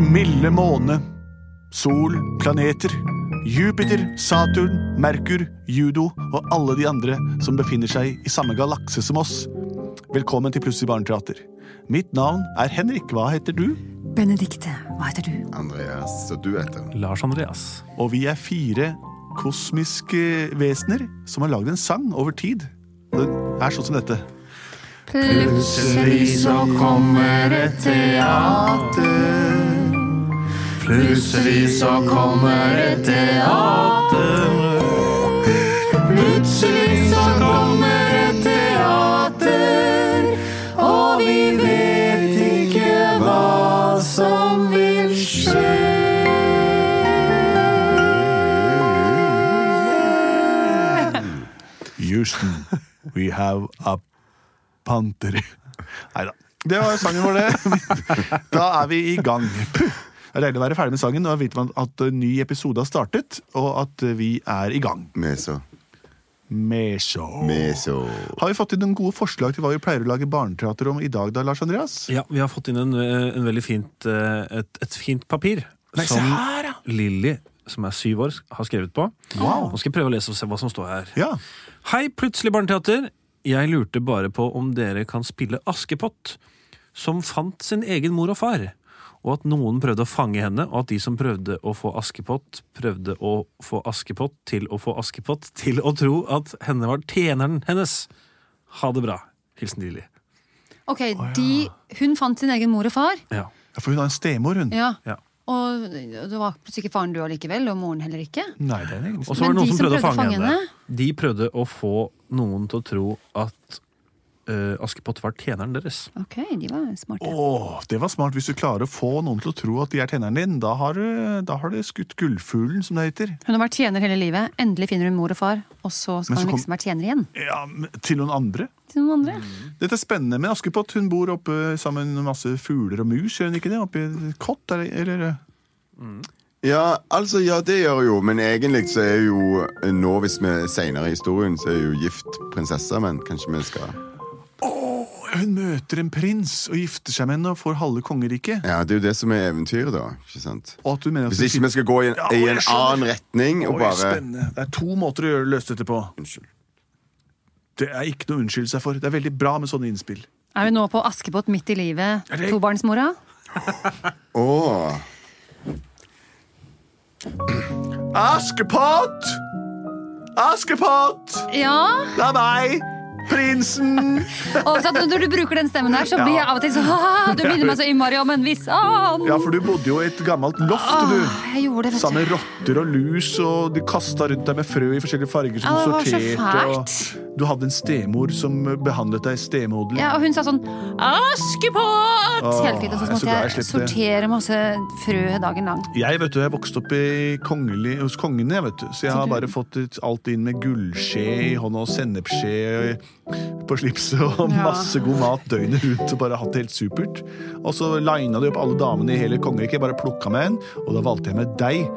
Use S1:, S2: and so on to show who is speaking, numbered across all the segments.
S1: milde måne. Sol, planeter, Jupiter, Saturn, Merkur, Judo og alle de andre som befinner seg i samme galakse som oss. Velkommen til Plutselig barneteater. Mitt navn er Henrik. Hva heter du?
S2: Benedikte, hva heter du?
S3: Andreas, så du heter
S4: Lars Andreas.
S1: Og vi er fire kosmiske vesener som har lagd en sang over tid. Og den er sånn som dette.
S2: Plutselig så kommer et teater.
S3: Plutselig så kommer et
S2: Plutselig så kommer et teater. Og vi vet ikke hva som vil skje.
S1: Houston, we have a panther. Nei da. Det var sangen vår, det. Da er vi i gang. Det er deilig å være ferdig med sangen. Nå vet man at en ny episode har startet, og at vi er i gang.
S3: Meso.
S1: Meso.
S3: Meso.
S1: Har vi fått inn noen gode forslag til hva vi pleier å lage barneteater om i dag, da, Lars Andreas?
S4: Ja, vi har fått inn en, eh, en veldig fint, eh, et, et fint papir
S1: Nei, se her, ja.
S4: Lilly, som er syv år, har skrevet på.
S1: Wow.
S4: Nå skal jeg prøve å lese og se hva som står her.
S1: Ja.
S4: Hei, plutselig barneteater. Jeg lurte bare på om dere kan spille Askepott, som fant sin egen mor og far. Og at noen prøvde å fange henne, og at de som prøvde å få Askepott, prøvde å få Askepott til å få Askepott til å tro at henne var tjeneren hennes. Ha det bra. Hilsen Lilly.
S2: Ok, de, Hun fant sin egen mor og far.
S4: Ja.
S1: Ja, For hun har en stemor, hun.
S2: Ja.
S4: Ja.
S2: Og det var plutselig ikke faren du allikevel, og moren heller ikke.
S1: Nei, det er en egen
S4: Og så var
S2: Men
S4: det noen
S2: de
S4: som prøvde, å fange henne.
S2: henne?
S4: De prøvde å få noen til å tro at eh, Askepott var tjeneren deres.
S2: Ok, de var smarte.
S1: Åh, det var smart. Hvis du klarer å få noen til å tro at de er tenneren din, da har du, da har du skutt gullfuglen, som det heter.
S2: Hun har vært tjener hele livet. Endelig finner hun mor og far, og så
S1: Men
S2: skal
S1: så
S2: hun
S1: kom-
S2: liksom være tjener igjen.
S1: Ja, men til noen andre.
S2: Til noen andre.
S1: Dette er spennende med Askepott. Hun bor oppe sammen med masse fugler og mus, gjør hun ikke det? Oppe i et kott, eller? eller? eh?
S3: Ja, altså, ja, det gjør jo, men egentlig så er jo eh, nå, hvis vi er senere i historien, så er jo gift prinsesse, men kanskje vi skal
S1: Åh, hun møter en prins og gifter seg med henne og får halve kongeriket.
S3: Ja, det er jo det som er eventyret, da. Ikke sant?
S1: Og at hun mener at
S3: Hvis ikke vi skal gå i en,
S1: Ja,
S3: i
S1: jeg
S3: en
S1: skjønner.
S3: annen retning og
S1: Oi,
S3: bare
S1: spennende. Det er to måter å gjøre løse dette på.
S3: Unnskyld.
S1: Det er ikke noe å unnskylde seg for. Det er veldig bra med sånne innspill.
S2: Er vi nå på Askepott midt i livet,
S1: Er det-
S2: tobarnsmora?
S3: Åh,
S1: Askepott! Askepott!
S2: Ja!
S1: Det er meg, prinsen!
S2: Og så at når du bruker den stemmen der, så blir jeg av og til sånn «Ah, Du minner meg så innmari om en viss annen.
S1: Ja, for du bodde jo i et gammelt loft, du.
S2: Jeg gjorde det, vet
S1: Samme
S2: du.
S1: rotter og lus, og de kasta rundt deg med frø i forskjellige farger som
S2: Ja,
S1: du
S2: det var så
S1: sorterte. Og du hadde en stemor som behandlet deg stemoderlig.
S2: Ja, og hun sa sånn 'Askepott!'
S1: Åh,
S2: hele tiden. og
S1: jeg er
S2: Så
S1: så
S2: måtte
S1: glad
S2: jeg
S1: jeg slapp det.
S2: sortere masse frø dagen lang.
S1: Jeg vet du, jeg vokste opp i kongelig, hos kongene, jeg, vet du. så jeg har bare fått ut alt inn med gullskje i hånda og sennepsskje på slipset og
S2: Ja.
S1: masse god mat døgnet rundt og bare hatt det helt supert. Og så lina de opp alle damene i hele kongeriket. Jeg bare plukka med en, og da valgte jeg med deg.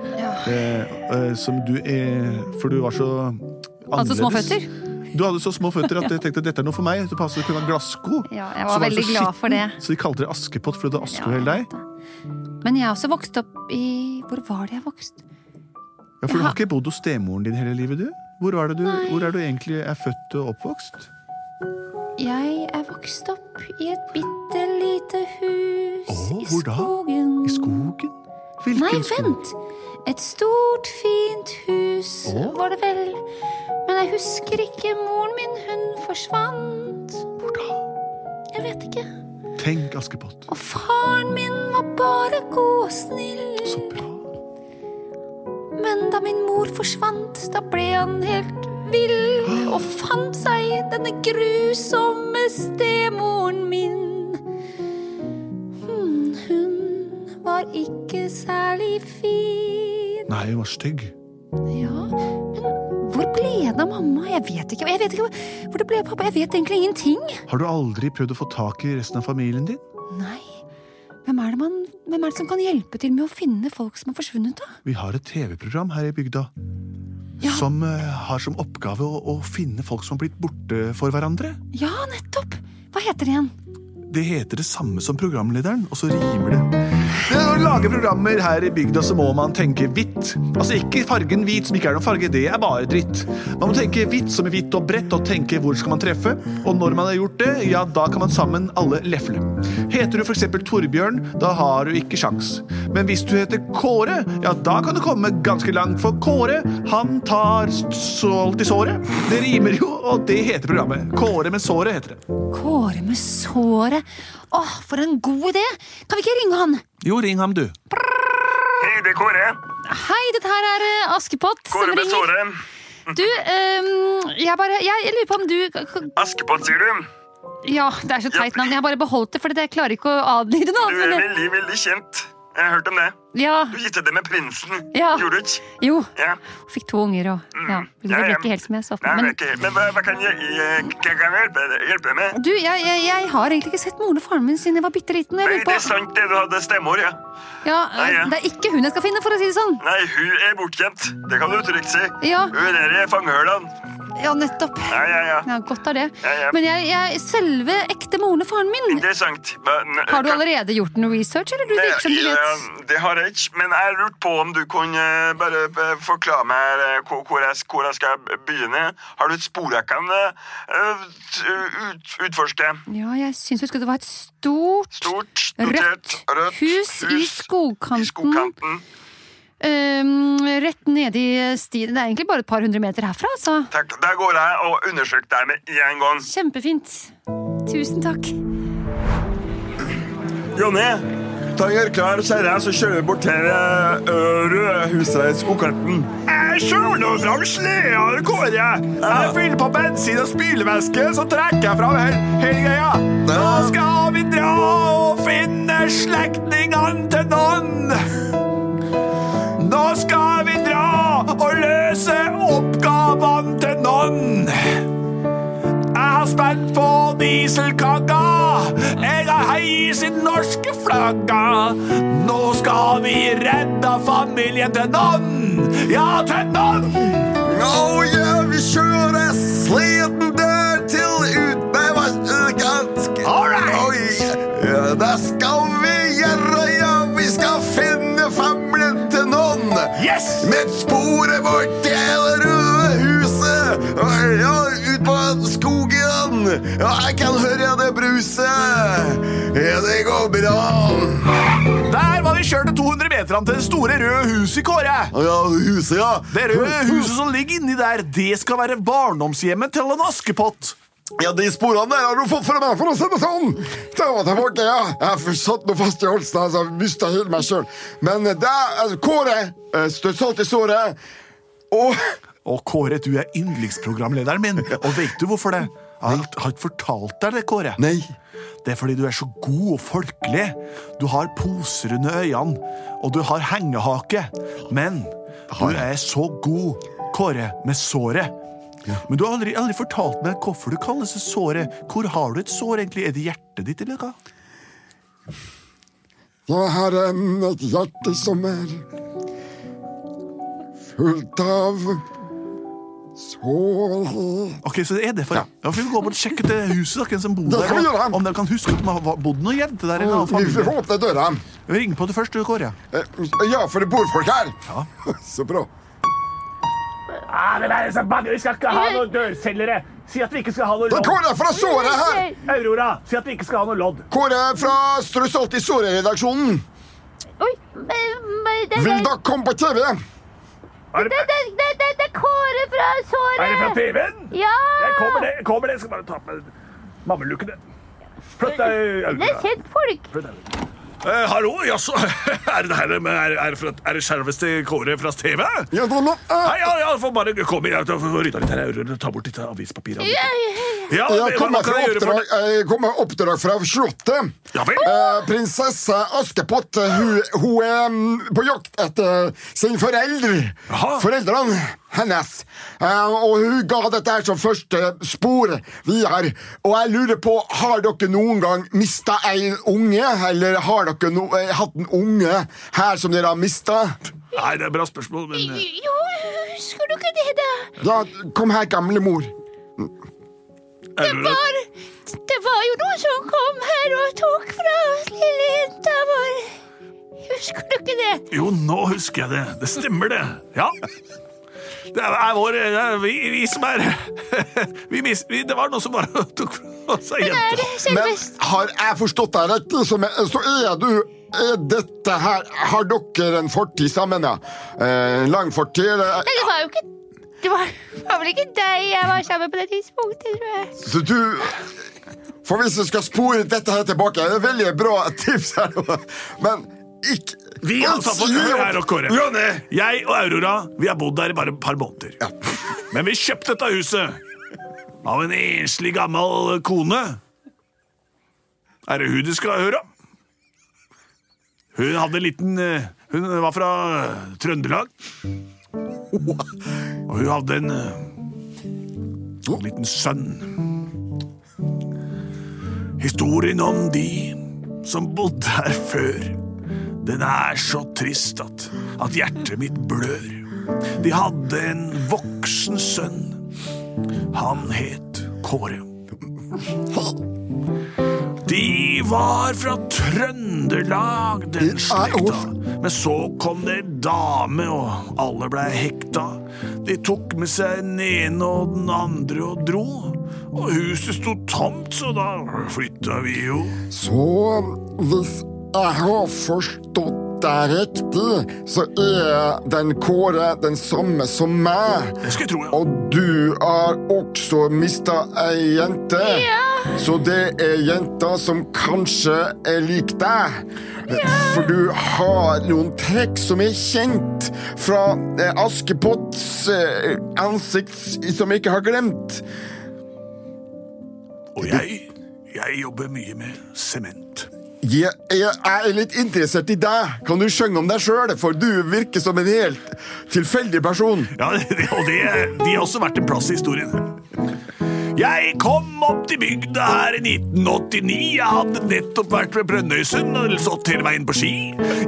S1: Eh, eh, som du eh, For du var så annerledes.
S2: Altså små føtter?
S1: Du hadde så små føtter at jeg tenkte at dette er noe for meg. Du passet til å kunne ha glassko.
S2: Ja, jeg
S1: Så
S2: var
S1: det
S2: veldig
S1: så
S2: glad for det.
S1: skitten, Så de kalte det Askepott fordi du hadde aske
S2: Ja,
S1: over hele
S2: jeg
S1: deg.
S2: vet det. Men jeg er også vokst opp i Hvor var det jeg vokste?
S1: Ja, For du har ikke bodd hos stemoren din hele livet, du? Hvor, var det du, hvor er du egentlig er født og oppvokst?
S2: Jeg er vokst opp i et bitte lite hus
S1: Åh,
S2: i
S1: hvor da?
S2: skogen.
S1: I skogen? Hvilken
S2: Nei,
S1: skog?
S2: vent! Et stort, fint hus
S1: Åh.
S2: var det vel. Men jeg husker ikke moren min, hun forsvant.
S1: Hvor da?
S2: Jeg vet ikke.
S1: Tenk, Askepott.
S2: Og faren min var bare god og snill.
S1: Så bra.
S2: Men da min mor forsvant, da ble han helt vill og fant seg denne grusomme stemoren min. Hmm, hun var ikke særlig fin.
S1: Nei, hun var stygg.
S2: Ja, men hvor ble det av mamma? Jeg vet ikke. Og jeg vet ikke hvor- hvor det ble av pappa. Jeg vet egentlig ingenting.
S1: Har du aldri prøvd å få tak i resten av familien din?
S2: Nei. Hvem er, det man, hvem er det som kan hjelpe til med å finne folk som har forsvunnet, da?
S1: Vi har et TV-program her i bygda
S2: Ja.
S1: som eh, har som oppgave å, å finne folk som har blitt borte for hverandre.
S2: Ja, nettopp! Hva heter det igjen?
S1: det heter det samme som programlederen, og så rimer det. Når du lager programmer her i bygda, så må man tenke hvitt. Altså ikke fargen hvit, som ikke er noen farge, det er bare dritt. Man må tenke hvitt som i hvitt og bredt, og tenke hvor skal man treffe. Og når man har gjort det, ja, da kan man sammen alle lefle. Heter du f.eks. Torbjørn, da har du ikke sjans. Men hvis du heter Kåre, ja, da kan du komme ganske langt, for Kåre, han tar s- salt i såret. Det rimer jo, og det heter programmet. Kåre med såret heter det.
S2: Kåre med såret. Åh, for en god idé! Kan vi ikke ringe han?
S1: Jo, ring ham, du.
S5: Hei, det er Kåre.
S2: Hei, dette her er eh, Askepott
S5: Kåre
S2: som
S5: med
S2: ringer.
S5: såret.
S2: Du, ehm, jeg bare Jeg lurer på om du k-
S5: Askepott, sier du?
S2: Ja, det er så teit navn. Jeg har bare beholdt det, for jeg klarer ikke å adlyde noe
S5: Du er
S2: annet.
S5: veldig, veldig kjent. Jeg har hørt om det.
S2: men- Ja.
S5: Du giftet deg med prinsen.
S2: Ja.
S5: Gjorde du ikke?
S2: Jo.
S5: Ja.
S2: Fikk to unger og ja. Det
S5: Mm. Ja,
S2: ble
S5: ja.
S2: ikke helt som jeg så for
S5: Nei,
S2: meg. Men
S5: ok. Men hva, hva kan jeg, jeg, jeg kan hjelpe, deg- hjelpe deg med?
S2: Du, jeg, jeg, jeg har egentlig ikke sett moren og faren min siden jeg var bitte liten.
S5: Nei,
S2: Jeg lurer
S5: det
S2: på
S5: er sant det du hadde stemmer, ja.
S2: ja,
S5: Nei, ja.
S2: Det er ikke hun jeg skal finne, for å si det sånn.
S5: Nei, hun er bortgjemt. Det kan du trygt si.
S2: Ja.
S5: Hun er der i fangehølen.
S2: Ja, nettopp.
S5: Ja, ja, ja.
S2: Ja, Godt av det.
S5: Ja, ja.
S2: Men jeg, jeg, selve ekte moren og faren min
S5: Interessant. Hva- n-
S2: Har du
S5: kan-
S2: allerede gjort noe research, eller du virker som du vet?
S5: Ja, eh, det har jeg ikke, men jeg lurte på om du kunne eh, bare eh, forklare meg eh, hvor, hvor, jeg, hvor jeg skal begynne. Har du et spor jeg kan eh, ut, ut, utforske?
S2: Ja, jeg syns jeg husker det var et stort
S5: Stort, notert,
S2: Rødt, hus, i skogkanten,
S5: i skogkanten.
S2: øhm, rett nede i stien. Det er egentlig bare et par hundre meter herfra, altså.
S5: Takk. Der går jeg og undersøker deg med en gang.
S2: Kjempefint. Tusen takk.
S5: Jonny,
S3: Ta gjør klar, kjære, så kjører vi bort til røde huset i skogkanten.
S5: jeg skjuler fram sleda, Kåre.
S1: Jeg fyller på bensin og spylevæske, så trekker jeg fram hele, hele greia. Nå skal vi dra og finne slektningene til noen. Nå skal vi dra og løse oppgavene til noen. Jeg har spent på dieselkaka. Jeg har heis i norske flagga. Nå skal vi redde familien til noen. Ja, til noen!
S3: Nå ja, vi kjører sleden der til ut Nei, hva ganske
S1: All right.
S3: ja, Da skal vi gjøre, ja, vi skal finne famlen til noen
S1: Yes!
S3: Med sporet vårt til det røde huset Og Ja, ut på skogen Ja, jeg kan høre det bruset Ja, det går bra
S1: Der var vi kjørt 200 meter an til det store røde huset i Kåre.
S3: Ja, huset, ja
S1: Det røde huset som ligger inni der, det skal være barndomshjemmet til en Askepott.
S3: Ja, de sporene der har du fått fra meg, for å si det sånn! Det var tilbake, ja. Jeg satt nå fast i halsen, altså, jeg mista hele meg sjøl. Men eh, det er Kåre eh, støtt salt i såret. Og
S1: Og Kåre, du er yndlingsprogramlederen min, og vet du hvorfor det? Jeg har- har ikke fortalt deg det, Kåre.
S3: Nei.
S1: Det er fordi du er så god og folkelig. Du har poser under øynene, og du har hengehake. Men du er så god, Kåre, med såret. Men du har aldri, aldri fortalt meg hvorfor du kalles såret. Hvor har du et sår, egentlig? Er det hjertet ditt, eller hva?
S3: Jeg har em, et hjerte som er fullt av sår
S1: Ok, så det er det for ja. for Vi får gå bort og sjekke til huset, da, hvem som bor
S3: Det Mm,
S1: der,
S3: kan vi gjøre.
S1: og om de kan huske at de har bodd noen jenter der. eller annen
S3: Vi får
S1: familie.
S3: åpne døra.
S1: Vi ringer på det først, du, Kåre.
S3: Eh, Ja, for det bor folk her. Så bra.
S6: Ah, det der er så bange. Vi skal ikke ha noen dørselgere. Si at vi ikke skal ha noe
S3: Det er
S6: lodd.
S3: Kåre fra såret her!
S6: Aurora, si at vi ikke skal ha noe lodd.
S3: Kåre fra Strø salt i såret-redaksjonen.
S7: Oi, men- men det,
S3: Vil
S7: det,
S3: dere komme på TV?
S6: Er det,
S7: det, det, det, det er Kåre fra såret!
S6: er det fra TV-en?
S7: Ja!
S6: Jeg kommer det. Jeg kommer det. Jeg skal bare ta på meg mammelukene. Flytt deg,
S7: Det er
S6: Aurora.
S7: kjentfolk.
S6: Eh, hallo, jaså. Er det her med Er, er, fra- er det selveste Kåre fra TV?
S3: Ja, da, nå, eh.
S6: Nei, ja, ja, får bare komme inn. Rydde litt her, Aurora. Ta bort litt av avispapirene.
S7: Ja, ja, ja.
S6: Ja,
S3: Jeg
S6: hva- hva
S3: kommer
S6: kan
S3: fra
S6: jeg gjøre for
S3: oppdrag,
S6: deg?
S3: jeg kommer med oppdrag fra Slottet.
S6: Ja vel.
S3: Eh, prinsesse Askepott eh, hun, hun er mm, på jakt etter sine foreldre.
S6: Jaha.
S3: Foreldrene hennes. Eh, og hun ga dette her som første spor videre. Og jeg lurer på, har dere noen gang mista en unge? Eller har dere no, eh, hatt en unge her som dere har mista?
S6: Nei, det er bra spørsmål, men eh,
S7: Jo, husker du ikke det, da?
S3: Ja, kom her, gamle mor.
S7: Det
S6: Aurora
S7: var Det var jo noen som kom her og tok fra lille jenta vår. Husker du ikke det?
S1: Jo, nå husker jeg det. Det stemmer, det. Ja. Det er, er vår det er vi, vi som er vi, mis- vi, Det var noen som bare tok fra oss ei
S7: Er
S1: jente.
S7: det
S3: Men
S7: selvest?
S3: har jeg forstått deg rett, som jeg- så er du er dette her Har dere en fortid sammen, ja? Eh, En lang fortid? eller?
S7: Nei, det var jo ikke det var, det var vel ikke deg jeg var sammen med på det tidspunktet, tror jeg.
S3: Så du For hvis du skal spore dette her tilbake, er det veldig bra tips her, men ikke
S1: Vi har tatt oss
S3: Gi
S1: hør
S3: opp.
S1: her og Kåre.
S3: Ronny!
S1: Jeg og Aurora vi har bodd der i bare et par måneder. Men vi kjøpte dette huset av en enslig gammel kone. Er det hun du skal høre om? Hun hadde en liten eh, Hun var fra eh, Trøndelag. Og hun hadde en eh, liten sønn. Historien om de som bodde her før, den er så trist at, at hjertet mitt blør. De hadde en voksen sønn. Han het Kåre. De var fra Trøndelag, den slekta. Men så kom det en dame, og alle blei hekta. De tok med seg den ene og den andre og dro. Og huset sto tomt, så da flytta vi jo.
S3: Så hvis jeg har forstått deg riktig, så er den Kåre den samme som meg.
S1: Det skulle jeg tro, ja.
S3: Og du har også mista ei jente. Så det er jenta som kanskje er lik deg. For du har noen trekk som er kjent fra eh, Askepotts eh, ansikt som jeg ikke har glemt.
S1: Og jeg, jeg jobber mye med sement.
S3: Jeg, jeg er litt interessert i deg. Kan du synge om deg sjøl? For du virker som en helt tilfeldig person.
S1: Ja, det- og det, de har også vært en plass i historien. Jeg kom opp til bygda her i 1989. Jeg hadde nettopp vært ved Brønnøysund og stått hele veien på ski.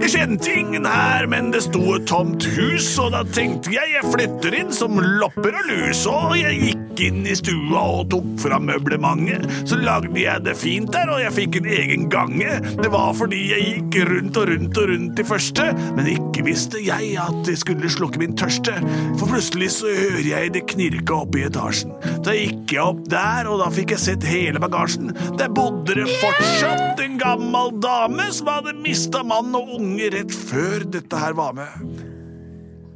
S1: Jeg kjente ingen her, men det sto et tomt hus, og da tenkte jeg jeg flytter inn som lopper og lus. Og jeg gikk inn i stua og tok fram møblementet. Så lagde jeg det fint der, og jeg fikk en egen gange. Det var fordi jeg gikk rundt og rundt og rundt i første, men ikke visste jeg at det skulle slukke min tørste. For plutselig så hører jeg det knirke oppe i etasjen. Da gikk jeg opp der, og da fikk jeg sett hele bagasjen. Der bodde det fortsatt en gammel dame som hadde mista mann og unge rett før dette her var med.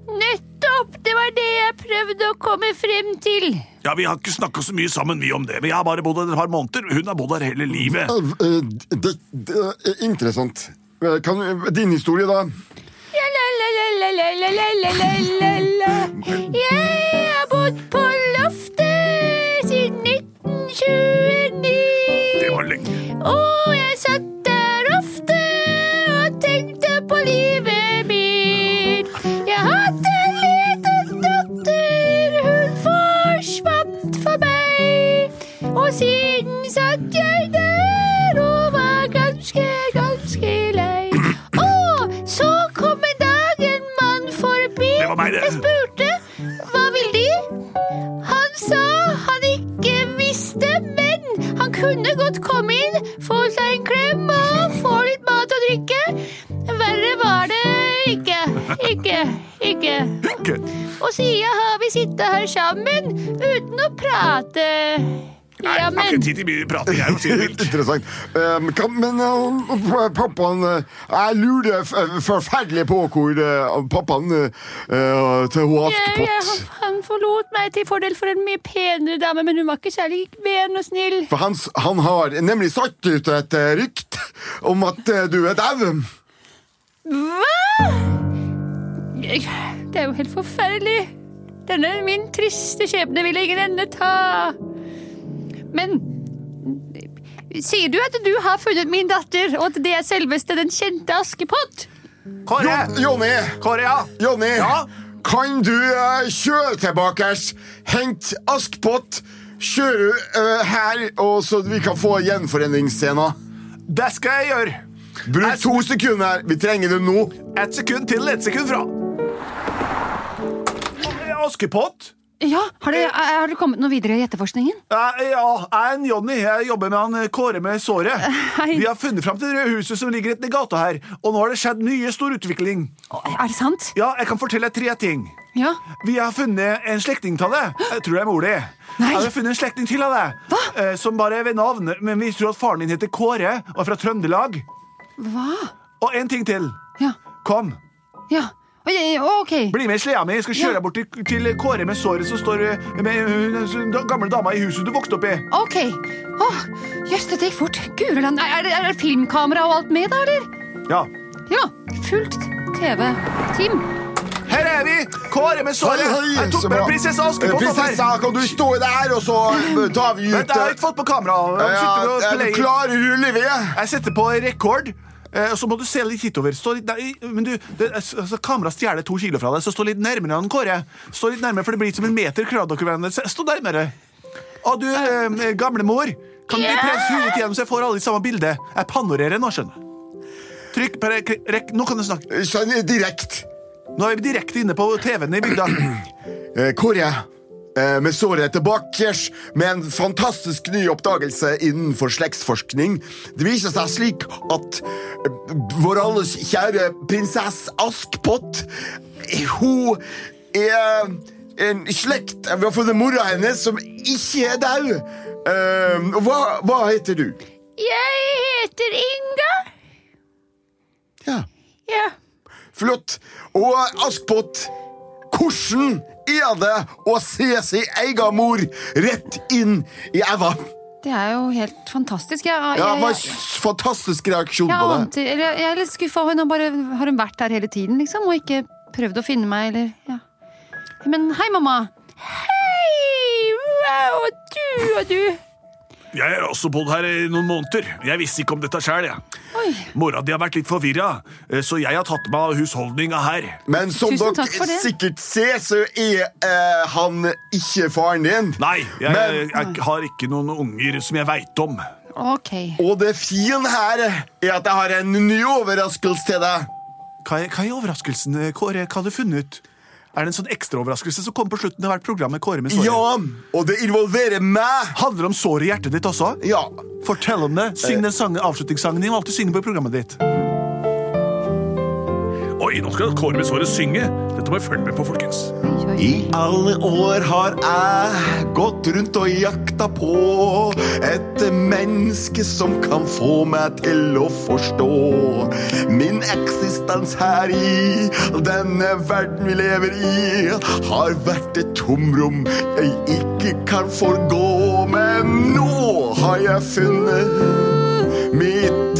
S7: Nettopp! Det var det jeg prøvde å komme frem til.
S1: Ja, Vi har ikke snakka så mye sammen, vi om det, men jeg har bare bodd her et par måneder. Hun har bodd her hele livet.
S3: Eh, eh, Det, det er interessant. Eh, Kan, din historie, da?
S7: La-la-la-la-la-la-la-la-la-la. Jeg har bodd på loftet siden 1929.
S1: Det var lenge.
S7: Og jeg satt der ofte og tenkte på livet mitt. Jeg hadde en liten datter, hun forsvant for meg. Og siden satt jeg der og var ganske, ganske lei. Og så kom en dag en mann forbi.
S1: Det var meg, det.
S7: Jeg spurte hva vil de? Han sa han ikke visste, men han kunne godt komme inn, få seg en klem og få litt mat og drikke. Verre var det ikke. Ikke. Ikke. Og siden har vi sittet her sammen uten å prate.
S1: Nei, jeg har
S7: Jammen.
S1: ikke tid til mye prating. Jeg må si det mildt.
S3: Interessant. Eh, kan, men eh, pappaen eh, Jeg lurer f- eh, forferdelig på hvor eh, pappaen eh, eh, til hun
S7: Jeg- jeg-
S3: Askepott
S7: Han forlot meg til fordel for en mye penere dame, men hun var ikke særlig ven og snill.
S3: For han, s- han har nemlig satt ut et eh, rykt om at eh, du er dau.
S7: Hva? Jeg- Det er jo helt forferdelig. Denne min triste skjebne vil ingen ende ta. Men sier du at du har funnet min datter, og at det er selveste den kjente Askepott?
S3: Jo,
S1: Kåre!
S3: Jonny!
S1: Kåre, ja.
S3: Jonny!
S1: Ja?
S3: Kan du eh, kjøre tilbake? Hent Askepott. Kjøre eh, her, og så vi kan få gjenforeningsscena.
S1: Det skal jeg gjøre.
S3: Bruk to sekunder. Vi trenger det nå.
S1: Ett sekund til, ett sekund fra. Askepott?
S2: Ja, har,
S7: Eh.
S2: det, eh, har dere kommet noe videre i etterforskningen?
S1: Eh, Ja, jeg er en Jonny. Jeg jobber med han eh, Kåre med såret.
S2: Hei.
S1: Vi har funnet fram til det røde huset som ligger rett ned gata her, og nå har det skjedd mye stor utvikling.
S2: Er det sant?
S1: Ja, jeg kan fortelle deg tre ting.
S2: Ja.
S1: Vi har funnet en slektning av deg. Jeg tror det er mor di.
S2: Nei.
S1: Ja, Vi har funnet en slektning til av deg,
S2: Hva?
S1: eh, som bare er ved navn, men vi tror at faren din heter Kåre og er fra Trøndelag.
S2: Hva?
S1: Og en ting til.
S2: Ja.
S1: Kom,
S2: Ja. Oi, ok.
S1: bli med i sleda mi. Jeg skal kjøre
S2: Ja.
S1: deg bort til, til Kåre med såret som står eh, med hun hun- den gamle dama i huset du vokste opp i.
S2: Ok. Åh, jøss, dette gikk fort. Gureland, er, er det- er det filmkamera og alt med da, eller?
S1: Ja.
S2: Ja, fullt TV-team.
S1: Her er vi! Kåre med såret. Jeg tok med prinsesse
S3: Eh,
S1: Askepott opp her.
S3: Prinsessa, kan du stå der, og så eh, tar vi ut
S1: Vent, jeg har ikke fått på kamera. Jeg, sitter og
S3: ja, Er
S1: spiller
S3: du
S1: i-
S3: klar, rulleved?
S1: jeg setter på rekord. eh, Og så må du se litt hitover. Stå litt, nei, men du, det, altså, Kameraet stjeler to kilo fra deg, så stå litt nærmere han, Kåre. Stå litt nærmere, for det blir som en meter. Klarer dere hverandre? Se, Stå nærmere. Og du, eh, gamlemor, kan du presse hodet igjennom så jeg får alle i samme bilde? Jeg panorerer nå, skjønner du. Trykk på rek- rek... Nå kan du snakke.
S3: Sånn direkte.
S1: Nå er vi direkte inne på TV-en i bygda.
S3: Eh, Kåre, eh, med såret tilbake med en fantastisk ny oppdagelse innenfor slektsforskning. Det viser seg slik at eh, vår alles kjære prinsesse Askpott, eh, hun er en slekt Vi har funnet mora hennes, som ikke er død. Eh, hva, hva heter du?
S7: Jeg heter Inga.
S3: Ja.
S7: Ja.
S3: Flott. Og eh, Askpott, hvordan er det å se sin egen mor rett inn i æva?
S2: Det er jo helt fantastisk. Jeg, jeg,
S3: Ja,
S2: jeg,
S3: det var en fantastisk reaksjon
S2: jeg,
S3: på det.
S2: ante- eller jeg er litt skuffa. Hun har, bare, har hun vært her hele tiden, liksom? Og ikke prøvd å finne meg, eller ja. Men hei, mamma.
S7: Hei, wow, og du og du.
S6: Jeg har også bodd her i noen måneder. Jeg visste ikke om dette sjøl.
S2: Oi.
S6: Mora di har vært litt forvirra, eh, så jeg har tatt meg av husholdninga her.
S3: Men som
S2: Tusen
S3: dere
S2: takk for det.
S3: sikkert ser, så er eh, han ikke faren din.
S6: Nei, jeg,
S3: Men-
S6: jeg, har ikke noen unger som jeg veit om.
S2: Ok.
S3: Og det fine her er at jeg har en ny overraskelse til deg.
S1: Hva er, hva er overraskelsen, eh, Kåre? Hva har du funnet ut? Er det en sånn ekstraoverraskelse som kommer på slutten av hvert program? med Kåre med såret?
S3: Ja, og det involverer meg.
S1: Handler det om såret i hjertet ditt også?
S3: Ja.
S1: Fortell om det. Syng den sangen, avslutningssangen din. og Alltid synge på programmet ditt.
S6: Oi, nå skal Kåre med såret synge. Dette må jeg følge med på, folkens.
S2: Oi, oi.
S3: I alle år har jeg gått rundt og jakta på et menneske som kan få meg til å forstå min eksistens her i denne verden vi lever i, har vært et tomrom jeg ikke kan forgå. Men nå har jeg funnet mitt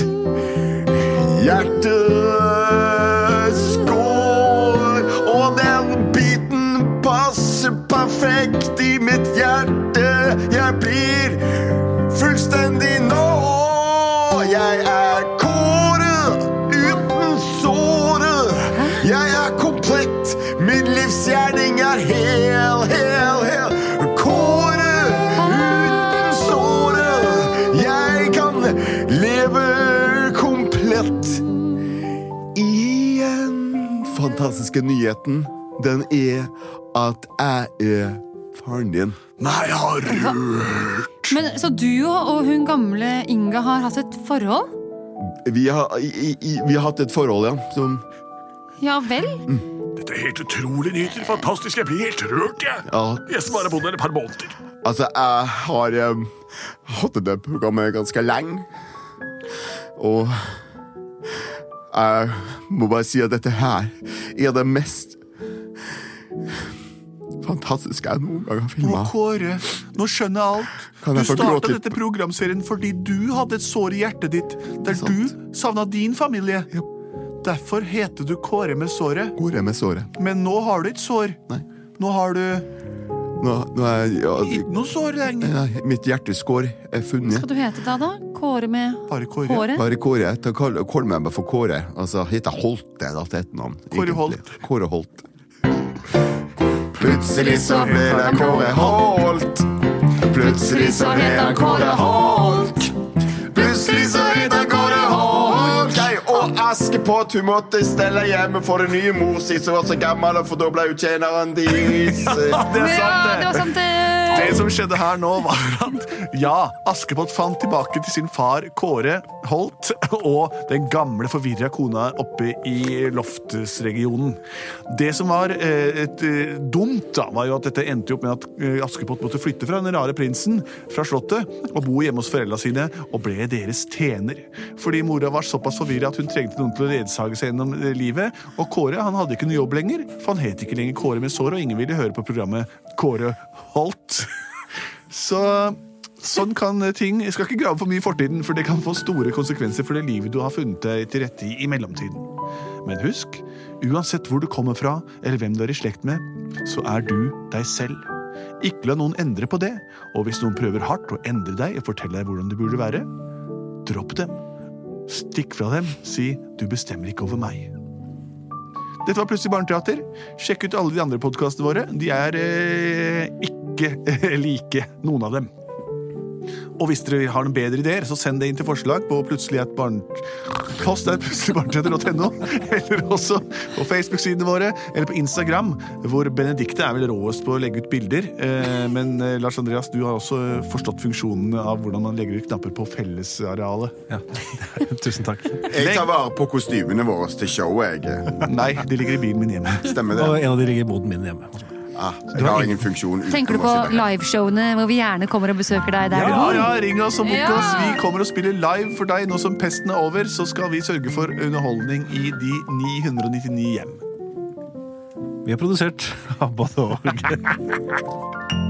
S3: Hjerteskår Og den biten passer perfekt i mitt hjerte Jeg blir fullstendig nå Jeg er kåret uten såre Jeg er komplett Min livsgjerning er hel, hel, hel Kåret uten såre Jeg kan leve komplett igjen. Fantastiske nyheten, den er at jeg er faren din.
S6: Nei, har du
S2: Men, så du og hun gamle Inga har hatt et forhold?
S3: Vi har, i, i, vi har hatt et forhold, ja. Som,
S2: Ja vel?
S6: Dette er helt utrolig nyheter. Fantastisk. Jeg blir helt rørt, jeg.
S3: Ja.
S6: Jeg som bare har bodd her et par måneder.
S3: altså, jeg har em, hatt det programmet ganske lenge. Og jeg må bare si at dette her er det mest fantastiske jeg noen gang har
S1: Å,
S3: filma.
S1: Kåre, nå skjønner jeg alt.
S3: Kan
S1: Du
S3: jeg få gråte
S1: starta
S3: litt?
S1: dette programserien fordi du hadde et sår i hjertet ditt der du savna din familie.
S3: Ja.
S1: Derfor heter du Kåre med såret.
S3: Hvor er med såret?
S1: Men nå har du et sår.
S3: Nei.
S1: Nå har du
S3: Nå, nå er, ja,
S1: ikke noe sår lenger.
S3: Nei, Mitt hjerteskår er funnet.
S2: Skal du hete da, da? Kåre med
S1: Bare Kåre.
S2: håret?
S3: Bare Kåre. Ta kall, kall meg bare for Kåre. Altså, heter Holte, da, til etternavn.
S1: Kåre
S3: egentlig.
S1: Holt.
S3: Kåre Holt. Plutselig så ble det Kåre Holt. Plutselig så ble det Kåre Holt. Plutselig så het han Kåre Holt. Jeg og jeg Askepott, hun måtte stelle hjemme for en ny mor si som var så gammel, og for da ble hun tjeneren deres.
S6: Det er
S2: Ja,
S6: sant,
S2: det
S6: det.
S2: var sant, eh, det.
S1: Det som skjedde her nå, var at ja, Askepott fant tilbake til sin far Kåre Holt og den gamle, forvirra kona oppe i loftsregionen. Det som var eh, et, eh, dumt, da, var jo at dette endte jo opp med at eh, Askepott måtte flytte fra den rare prinsen fra Slottet og bo hjemme hos foreldra sine og ble deres tjener. Fordi mora var såpass forvirra at hun trengte noen til å ledsage seg gjennom eh, livet, og Kåre han hadde ikke noe jobb lenger, for han het ikke lenger Kåre med sår, og ingen ville høre på programmet Kåre Holt. Så sånn kan ting Jeg skal ikke grave for mye i fortiden, for det kan få store konsekvenser for det livet du har funnet deg til rette i i mellomtiden. Men husk, uansett hvor du kommer fra, eller hvem du er i slekt med, så er du deg selv. Ikke la noen endre på det, og hvis noen prøver hardt å endre deg og fortelle deg hvordan du burde være, dropp dem. Stikk fra dem, si 'du bestemmer ikke over meg'. Dette var Plutselig barneteater. Sjekk ut alle de andre podkastene våre. De er eh, ikke eh, like, noen av dem. Og hvis dere har noen bedre ideer, så send det inn til forslag på plutselig et barn... Post er plutseligbarneteater.no, eller også på Facebook-sidene våre, eller på Instagram, hvor Benedikte er vel råest på å legge ut bilder. Eh, Men eh, Lars Andreas, du har også forstått funksjonen av hvordan man legger ut knapper på fellesarealet.
S4: Ja. Tusen takk.
S3: Jeg tar vare på kostymene våre til showet, jeg.
S1: Nei, de ligger i bilen min hjemme.
S3: Stemmer
S4: Og
S3: det?
S4: en av de ligger i boden min hjemme.
S3: Ah, jeg har ingen funksjon. utenom
S2: Tenker du
S3: å
S2: på
S3: sitte her.
S2: liveshowene hvor vi gjerne kommer og besøker deg der du
S1: Ja,
S2: bor?
S1: ja, ring oss og book
S2: Ja.
S1: oss. Vi kommer og spiller live for deg nå som pesten er over. Så skal vi sørge for underholdning i de 999 hjem.
S4: Vi er produsert av både og.